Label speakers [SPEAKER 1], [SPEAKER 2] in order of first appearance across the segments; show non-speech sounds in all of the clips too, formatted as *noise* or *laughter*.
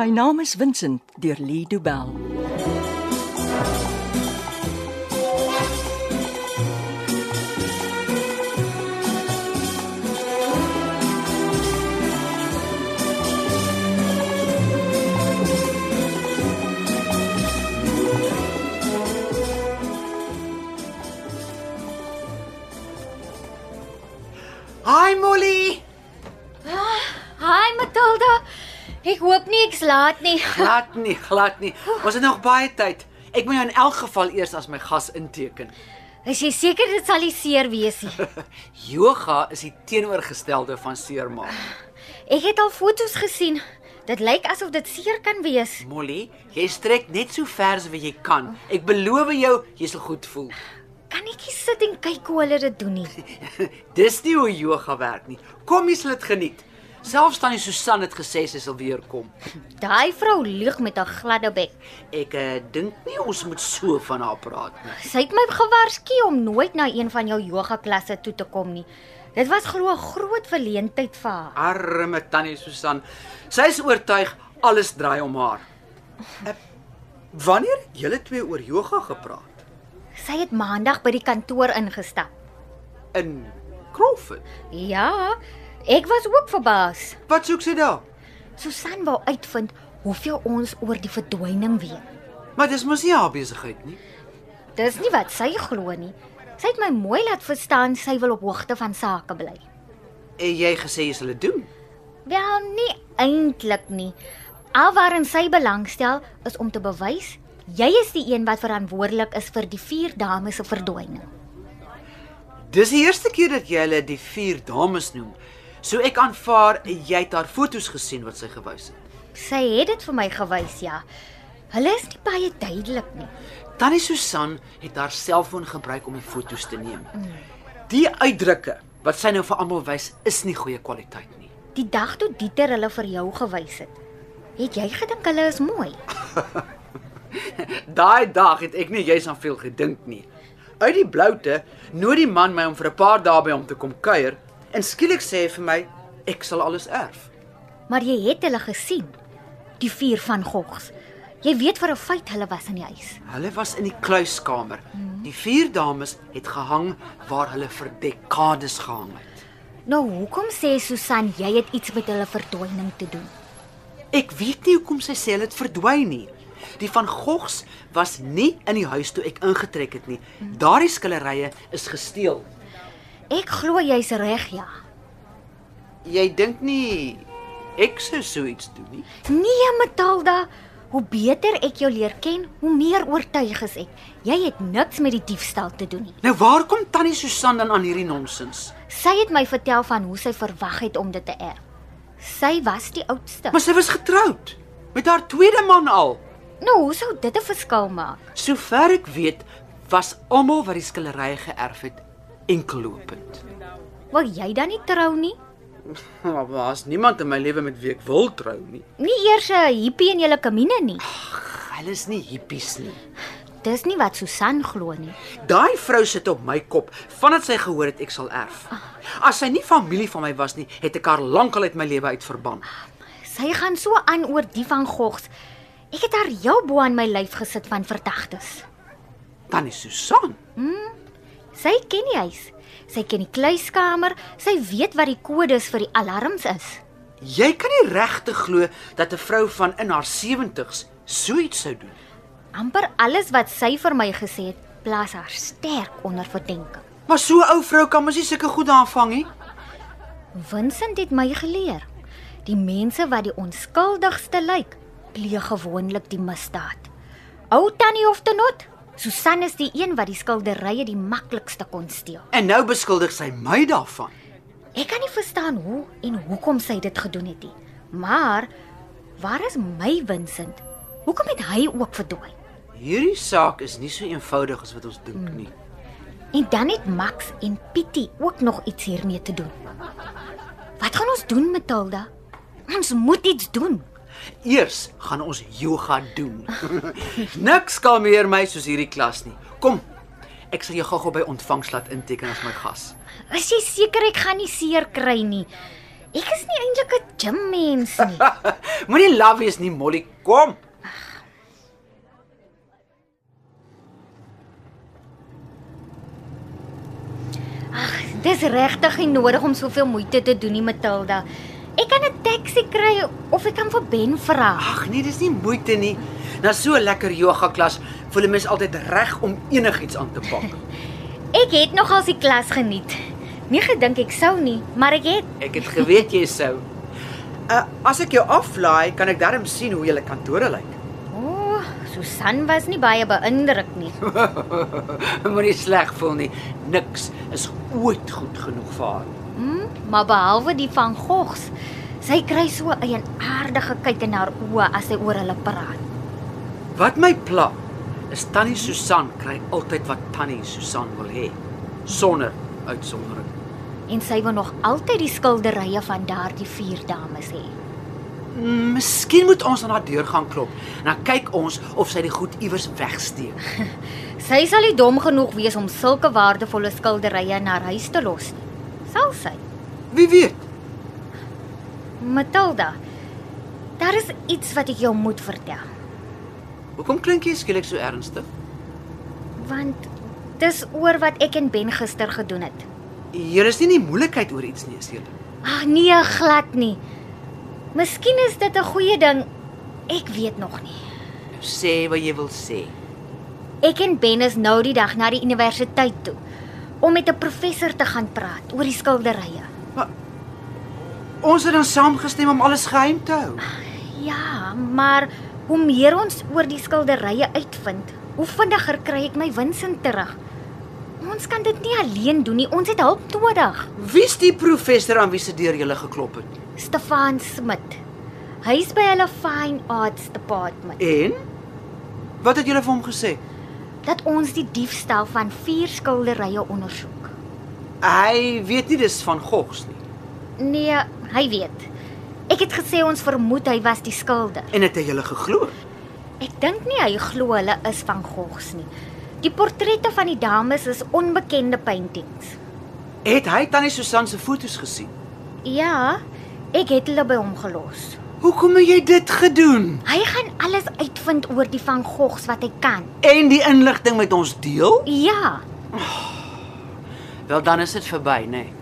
[SPEAKER 1] My naam is Vincent deur Lee Du Bell.
[SPEAKER 2] Hi Molly.
[SPEAKER 3] Hi Matilda. Ek hoop nie ek's laat nie.
[SPEAKER 2] Glad nie, glad nie. Ons het nog baie tyd. Ek moet jou in elk geval eers as my gas inteken.
[SPEAKER 3] Is jy seker dit sal nie seer wees nie?
[SPEAKER 2] Yoga is die teenoorgestelde van seermaak.
[SPEAKER 3] Ek het al foto's gesien. Dit lyk asof dit seer kan wees.
[SPEAKER 2] Molly, jy strek net so ver as wat jy kan. Ek beloof jou, jy sal goed voel. *laughs*
[SPEAKER 3] Kan ek nie sit en kyk hoe hulle dit doen nie?
[SPEAKER 2] Dis nie hoe yoga werk nie. Kom jy sal dit geniet. Selfs tannie Susan het gesê sy sal weer kom.
[SPEAKER 3] Daai vrou lieg met haar gladde bek.
[SPEAKER 2] Ek uh, dink nie ons moet so van haar praat nie.
[SPEAKER 3] Sy het my gewaarsku om nooit na een van jou yoga klasse toe te kom nie. Dit was glo 'n groot verleentheid vir haar.
[SPEAKER 2] Arme tannie Susan. Sy is oortuig alles draai om haar. Eh, Wanneer het julle twee oor yoga gepraat?
[SPEAKER 3] Sy het maandag by die kantoor ingestap.
[SPEAKER 2] In Crawford.
[SPEAKER 3] Ja, ek was ook verbaas.
[SPEAKER 2] Wat soek sy daar?
[SPEAKER 3] Susan wou uitvind hoeveel ons oor die verdwyning weet.
[SPEAKER 2] Maar dis mos nie haar besigheid nie.
[SPEAKER 3] Dis nie wat sy glo nie. Sy het my mooi laat verstaan sy wil op hoogte van sake bly.
[SPEAKER 2] En jy gesê jy sal dit doen.
[SPEAKER 3] Wel, nie eintlik nie. Alwaarin sy belangstel is om te bewys jy is die een wat verantwoordelik is vir die vier dames se verdwyning.
[SPEAKER 2] Dis die eerste keer dat jy hulle die vier dames noem. So ek aanvaar jy het haar foto's gesien wat sy gewys het.
[SPEAKER 3] Sy het dit vir my gewys, ja. Hulle is nie baie duidelik nie.
[SPEAKER 2] Tannie Susan het haar selfoon gebruik om die foto's te neem. Die uitdrukke wat sy nou vir almal wys is nie goeie kwaliteit nie.
[SPEAKER 3] Die dag toe Dieter hulle vir jou gewys het, het jy gedink hulle is mooi.
[SPEAKER 2] Daai dag het ek nie jous aan veel gedink nie. Uit die bloute nooi die man my om vir 'n paar dae by hom te kom kuier en skielik sê hy vir my ek sal alles erf.
[SPEAKER 3] Maar jy het hulle gesien. Die vier van Gogs. Jy weet vir 'n feit hulle was in die huis.
[SPEAKER 2] Hulle was in die kluiskamer. Die vier dames het gehang waar hulle vir dekades gehang het.
[SPEAKER 3] Nou hoekom sê Susan jy het iets met hulle verdwyning te doen?
[SPEAKER 2] Ek weet nie hoekom sy sê hulle het verdwyn nie. Die van Gogs was nie in die huis toe ek ingetrek het nie. Daardie skillerye is gesteel.
[SPEAKER 3] Ek glo jy's reg, ja.
[SPEAKER 2] Jy dink nie ek sou so iets doen nie?
[SPEAKER 3] Nee, Matilda, hoe beter ek jou leer ken, hoe meer oortuig is ek. Jy het niks met die diefstal te doen nie.
[SPEAKER 2] Nou waar kom tannie Susan dan aan hierdie nonsens?
[SPEAKER 3] Sy het my vertel van hoe sy verwag het om dit te erf. Sy was die oudste.
[SPEAKER 2] Maar sy was getroud met haar tweede man al.
[SPEAKER 3] Nou, hoe sou dit 'n verskil maak?
[SPEAKER 2] Sover ek weet, was almal wat die skillerye geërf het enkellopend.
[SPEAKER 3] Wil jy dan nie trou nie?
[SPEAKER 2] Oh, Maar daar's niemand in my lewe met wie ek wil trou nie.
[SPEAKER 3] Nie eers 'n hippie in julle kamine nie.
[SPEAKER 2] Hulle is nie hippies nie.
[SPEAKER 3] Dis nie wat Susan glo nie.
[SPEAKER 2] Daai vrou sit op my kop vandat sy gehoor het ek sal erf. As sy nie familie van my was nie, het ek haar lankal uit my lewe uit verban.
[SPEAKER 3] Sy gaan so aan oor die van Gogs. Ek het haar heel bo aan my lyf gesit van verdagtes.
[SPEAKER 2] Tannie Susan,
[SPEAKER 3] Sy ken die huis. Sy ken die kluiskamer. Sy weet wat die kodes vir die alarms is.
[SPEAKER 2] jy kan nie regtig glo dat 'n vrou van in haar 70's so iets sou doen.
[SPEAKER 3] Amper alles wat sy vir my gesê het, plaas haar sterk onder verdenking.
[SPEAKER 2] Maar so 'n ou vrou kan mos nie sulke goed aanvang nie.
[SPEAKER 3] Vincent het my geleer. Die mense wat die onskuldigste lyk, pleeg gewoonlik die misdaad. Ou tannie hof te not. Susan is die een wat die skilderye die maklikste kon steel.
[SPEAKER 2] En nou beskuldig sy my daarvan.
[SPEAKER 3] Ek kan nie verstaan hoe en hoekom sy dit gedoen het nie. Maar waar is my Vincent? Hoekom het hy ook verdwyn?
[SPEAKER 2] Hierdie saak is nie so eenvoudig as wat ons dink nie.
[SPEAKER 3] En dan het Max en Pietie ook nog iets hiermee te doen. Wat gaan ons doen, Matilda? Ons moet iets doen.
[SPEAKER 2] Eers gaan ons yoga doen. *laughs* Niks kalmeer my soos hierdie klas nie. Kom. Ek sal jou gou-gou by ontvangs laat inteken as my gas. *laughs*
[SPEAKER 3] Is jy seker ek gaan nie seer kry nie? Ek is nie eintlik 'n gymmens nie.
[SPEAKER 2] Moenie laf wees nie, Molly. Kom.
[SPEAKER 3] Ag, dis regtig nie nodig om soveel moeite te doen nie, Matilda. Ek kan 'n taxi kry of ek kan vir Ben vra.
[SPEAKER 2] Ag nee, dis nie moeite nie. Na so 'n lekker yoga klas voel 'n mens altyd reg om enigiets aan te pak.
[SPEAKER 3] Ek het nogals die klas geniet. Nie gedink ek sou nie, maar ek het.
[SPEAKER 2] Ek het geweet jy sou. Uh, as ek jou aflaai, kan ek darm sien hoe julle kantore lyk.
[SPEAKER 3] O, oh, Susan was nie baie beïndruk nie.
[SPEAKER 2] *laughs* Moenie sleg voel nie. Niks is ooit goed genoeg vir haar.
[SPEAKER 3] Hm, maar behalwe die van Gogs, sy kry so 'n eienaardige kyk in haar oë as sy oor hulle praat.
[SPEAKER 2] Wat my pla is Tannie Susan kry altyd wat Tannie Susan wil hê sonder uitsondering.
[SPEAKER 3] En sy wil nog altyd die skilderye van daardie vier dames hê.
[SPEAKER 2] Mm, Miskien moet ons aan haar deur gaan klop en dan kyk ons of sy die goed iewers wegsteek.
[SPEAKER 3] Sy sal nie dom genoeg wees om sulke waardevolle skilderye in haar huis te los nie. Sal sy?
[SPEAKER 2] Wie weet?
[SPEAKER 3] Matilda, daar is iets wat ek jou moet vertel,
[SPEAKER 2] Hoekom klink jy skielik so ernstig?
[SPEAKER 3] want dis oor wat ek en Ben gister gedoen het.
[SPEAKER 2] Hier is nie nie moeilikheid oor iets nie, seker.
[SPEAKER 3] Ag nee, glad nie. Miskien is dit 'n goeie ding. Ek weet nog nie.
[SPEAKER 2] Sê wat jy wil sê.
[SPEAKER 3] Ek en Ben is nou die dag na die universiteit toe om met 'n professor te gaan praat oor die skilderye.
[SPEAKER 2] Ons het dan saamgestem om alles geheim te hou.
[SPEAKER 3] Ja, maar hoe meer ons oor die skilderye uitvind, hoe vinniger kry ek my winsin terug. Ons kan dit nie alleen doen nie, ons het hulp nodig.
[SPEAKER 2] Wie's die professor aan wie se deur jy geklop het?
[SPEAKER 3] Stefan Smit. Hy's by hulle Fine Arts Department
[SPEAKER 2] En wat het julle vir hom gesê?
[SPEAKER 3] dat ons die diefstal van vier skilderye ondersoek.
[SPEAKER 2] Hy weet nie dis van Gogs nie.
[SPEAKER 3] Nee, hy weet. Ek het gesê ons vermoed hy was die skilder.
[SPEAKER 2] En het hy julle geglo?
[SPEAKER 3] Ek dink nie hy glo hulle is van Gogs nie. Die portrette van die dames is onbekende paintings.
[SPEAKER 2] Het hy tannie Susan se fotos gesien?
[SPEAKER 3] Ja, ek het hulle by hom gelos.
[SPEAKER 2] Hoekom het jy dit gedoen?
[SPEAKER 3] Hy gaan alles uitvind oor die van Gogs wat hy kan.
[SPEAKER 2] En die inligting met ons deel?
[SPEAKER 3] Ja,
[SPEAKER 2] Wel dan is dit verby, nê. Nee.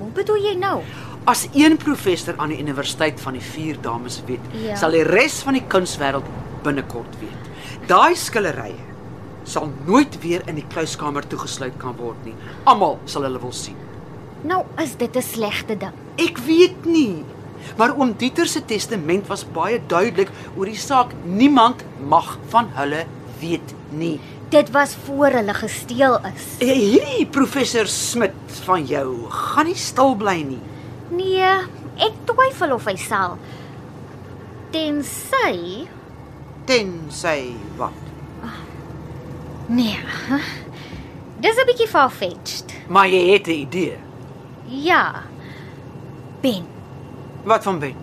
[SPEAKER 3] hoe bedoel jy nou?
[SPEAKER 2] As een professor aan die universiteit van die vier dames weet,
[SPEAKER 3] Ja.
[SPEAKER 2] sal die res van die kunswêreld binnekort weet. Daai skilderye sal nooit weer in die kluiskamer toegesluit kan word nie. Almal sal hulle wil sien.
[SPEAKER 3] Nou is dit 'n slegte ding.
[SPEAKER 2] Ek weet nie. Maar oom Dieter se testament was baie duidelik oor die saak. Niemand mag van hulle weet nie.
[SPEAKER 3] Dit was voor hulle gesteel is.
[SPEAKER 2] Eh, Hierdie professor Smit van jou gaan nie stil bly nie.
[SPEAKER 3] Nee, ek twyfel of hy sal. Tensy
[SPEAKER 2] Tensy wat?
[SPEAKER 3] nee. Dis 'n bietjie far-fetched.
[SPEAKER 2] Maar jy het 'n idee.
[SPEAKER 3] Ja. Ben,
[SPEAKER 2] Wat van Ben?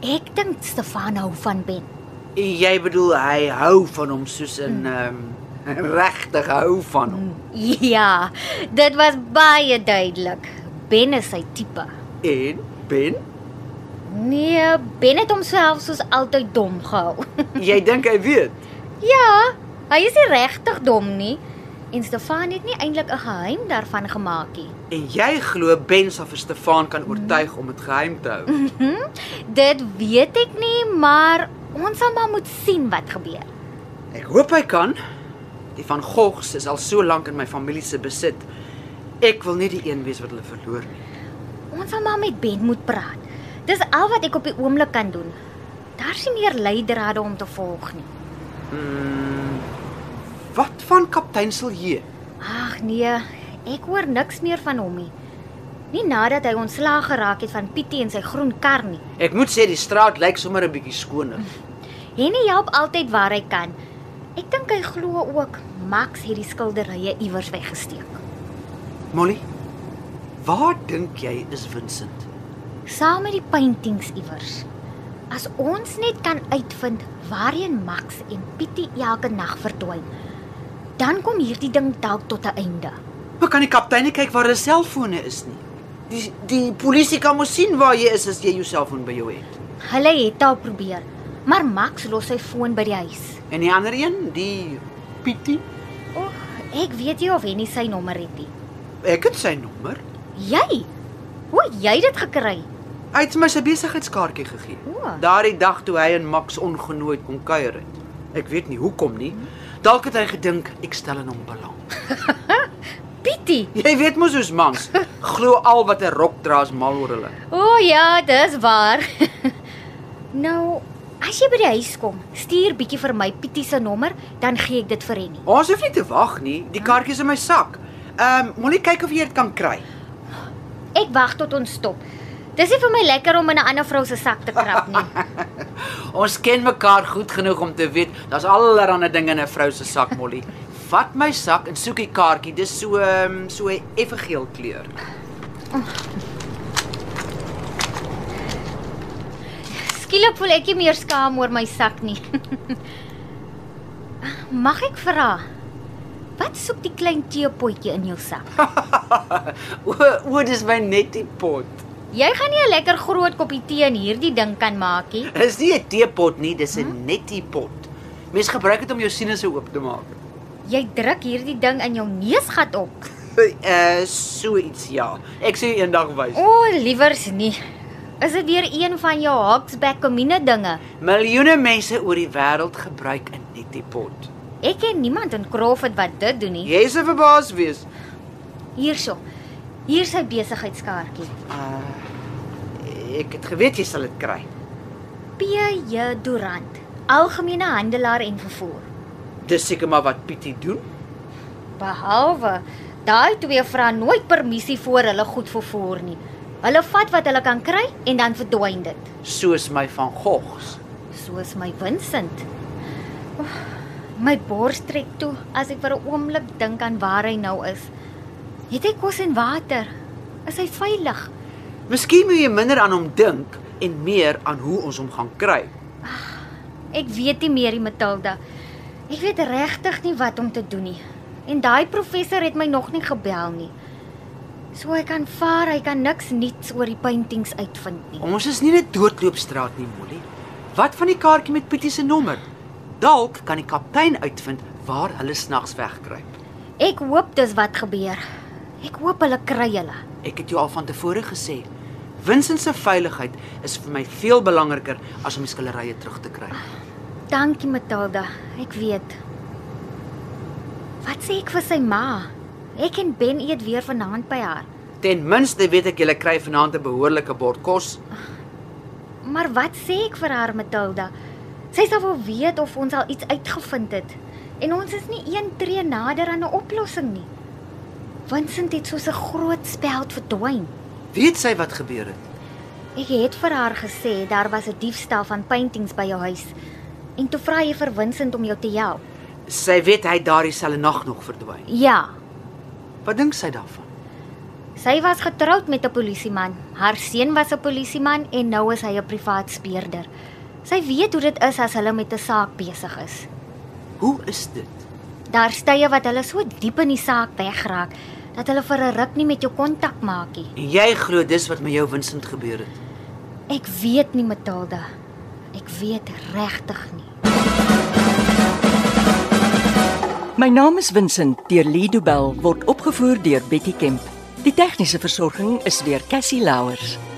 [SPEAKER 3] ek dink Stefan hou van Ben. *laughs*
[SPEAKER 2] Jy bedoel hy hou van hom soos 'n ehm regtig hou van
[SPEAKER 3] Mm.
[SPEAKER 2] hom.
[SPEAKER 3] Ja, dit was baie duidelik. Ben is sy tipe.
[SPEAKER 2] En Ben, *laughs*
[SPEAKER 3] Nee, Ben het homself soos altyd dom gehou. *laughs*
[SPEAKER 2] jy dink hy weet.
[SPEAKER 3] ja, hy is nie regtig dom nie. En Stefan het nie eintlik 'n geheim daarvan gemaak nie.
[SPEAKER 2] En jy glo Ben sal vir Stefan kan oortuig om dit geheim te hou.
[SPEAKER 3] Dit weet ek nie, maar ons sal maar moet sien wat gebeur.
[SPEAKER 2] Ek hoop hy kan. Die van Gogs is al so lank in my familie se besit. Ek wil nie die een wees wat hulle verloor nie.
[SPEAKER 3] Ons sal maar met Ben moet praat. Dis al wat ek op die oomblik kan doen. Daar's nie meer leidrade om te volg nie.
[SPEAKER 2] Mm, Wat van kaptein Silje?
[SPEAKER 3] Ag nee, ek hoor niks meer van hom nie. Nie nadat hy ontslaag geraak het van Pietie en sy groen kar nie.
[SPEAKER 2] Ek moet sê die straat lyk sommer 'n bietjie skoner.
[SPEAKER 3] Henny help altyd waar hy kan. Ek dink hy glo ook Max het die skilderye iewers weggesteek.
[SPEAKER 2] Molly, waar dink jy is Vincent?
[SPEAKER 3] Saam met die paintings iewers. As ons net kan uitvind waarheen Max en Pietie elke nag verdwyn, dan kom hierdie ding dalk tot 'n einde.
[SPEAKER 2] Maar kan die kaptein nie kyk waar hulle selfone is nie? Die die polisie kan mos sien waar jy is as jy jou selfoon by jou het.
[SPEAKER 3] Hulle het al probeer, maar Max los sy foon by die huis.
[SPEAKER 2] En die ander een, die Pietie,
[SPEAKER 3] Oeg, ek weet nie of hy nie sy nommer het nie.
[SPEAKER 2] ek het sy nommer.
[SPEAKER 3] Jy? Hoe het jy dit gekry?
[SPEAKER 2] Hy het my sy besigheidskaartjie gegee.
[SPEAKER 3] O.
[SPEAKER 2] Daardie dag toe hy en Max ongenooid kom kuier het. Ek weet nie hoekom nie. Dalk het hy gedink ek stel in hom *laughs* belang.
[SPEAKER 3] Pietie.
[SPEAKER 2] Jy weet mos hoe's mans. Glo al wat 'n rok dra is mal oor hulle.
[SPEAKER 3] O oh, ja, dis waar. *laughs* nou, as jy by die huis kom, stuur bietjie vir my Pietie se nommer, dan gee ek dit vir Henny.
[SPEAKER 2] Ons hoef nie te wag nie. Die kaartjie is in my sak. Ehm, um, moenie kyk of jy dit kan kry.
[SPEAKER 3] Ek wag tot ons stop. Dis nie vir my lekker om in 'n ander vrou se sak te krap nie.
[SPEAKER 2] Ons ken mekaar goed genoeg om te weet daar's allerlei dinge in 'n vrou se sak, Molly. Vat my sak en soek die kaartjie. Dis so ehm so 'n effe geel kleur. *laughs*
[SPEAKER 3] Skielik voel ek nie meer skaam oor my sak nie. *laughs* Ah, Mag ek vra? Wat soek die klein teepotjie in jou sak?
[SPEAKER 2] o, o, dis my nettie pot.
[SPEAKER 3] Jy gaan nie 'n lekker groot koppie tee in hierdie ding kan maak nie.
[SPEAKER 2] Dis nie 'n teepot nie, dis 'n nettie pot. Mens gebruik dit om jou sinusse oop te maak.
[SPEAKER 3] Jy druk hierdie ding in jou neusgat op.
[SPEAKER 2] Uh so iets ja. Ek sê eendag wys.
[SPEAKER 3] O, oh, liewers nie. Is dit weer een van jou Hawksback komine dinge?
[SPEAKER 2] Miljoene mense oor die wêreld gebruik 'n nettie pot.
[SPEAKER 3] Ek ken niemand in Crawford wat dit doen nie.
[SPEAKER 2] Jy is verbaas wees.
[SPEAKER 3] Hierso. Hier is sy besigheidskaartjie.
[SPEAKER 2] Uh ek het geweet jy sal dit kry.
[SPEAKER 3] P.J. Durant, algemene handelaar en vervoer.
[SPEAKER 2] Dis seker maar wat Pietie doen.
[SPEAKER 3] Behalwe daai twee vra nooit permissie voor hulle goed vervoer nie. Hulle vat wat hulle kan kry en dan verdwyn dit,
[SPEAKER 2] Soos my van Gogs.
[SPEAKER 3] soos my Vincent. Oef, My bors trek toe as ek vir 'n oomblik dink aan waar hy nou is. Het hy kos en water? Is hy veilig?
[SPEAKER 2] Miskien moet jy minder aan hom dink en meer aan hoe ons hom gaan kry.
[SPEAKER 3] Ek weet nie meer, die Matilda. Ek weet regtig nie wat om te doen nie. En daai professor het my nog nie gebel nie. So ek kan vaar, hy kan niks nuuts oor die paintings uitvind nie.
[SPEAKER 2] Ons is nie net doodloopstraat nie, Molly. Wat van die kaartjie met Pietie se nommer? Dalk kan die kaptein uitvind waar hulle snags wegkruip.
[SPEAKER 3] Ek hoop dis wat gebeur. Ek hoop hulle kry hulle.
[SPEAKER 2] Ek het jou al van tevore gesê. Vincent se veiligheid is vir my veel belangriker as om die skillerye terug te kry.
[SPEAKER 3] Dankie, Matilda. Ek weet. Wat sê ek vir sy ma? Ek en Ben eet weer vanaand by haar.
[SPEAKER 2] Ten minste weet ek jy kry vanaand 'n behoorlike bord kos.
[SPEAKER 3] Maar wat sê ek vir haar, Matilda? Sy sal wel weet of ons al iets uitgevind het. En ons is nie een tree nader aan 'n oplossing nie. Vincent het soos 'n groot speld verdwyn.
[SPEAKER 2] Weet sy wat gebeur het?
[SPEAKER 3] Ek het vir haar gesê daar was 'n diefstal van paintings by jou huis. En toe vra jy vir Vincent om jou te help.
[SPEAKER 2] Sy weet hy het daardie selfe nag nog verdwyn.
[SPEAKER 3] Ja,
[SPEAKER 2] Wat dink sy daarvan?
[SPEAKER 3] sy was getroud met 'n polisieman. Haar seun was 'n polisieman en nou is hy 'n privaat speurder. Sy weet hoe dit is as hulle met 'n saak besig is.
[SPEAKER 2] Hoe is dit?
[SPEAKER 3] Daar stye wat hulle so diep in die saak wegraak dat hulle vir 'n ruk nie met jou kontak maak nie.
[SPEAKER 2] En jy glo dis wat met jou Vincent gebeur het.
[SPEAKER 3] Ek weet nie, Matilda. Ek weet regtig nie.
[SPEAKER 1] My naam is Vincent deur Lido Bell word opgevoer deur Betty Kemp. Die tegniese versorging is deur Cassie Louers.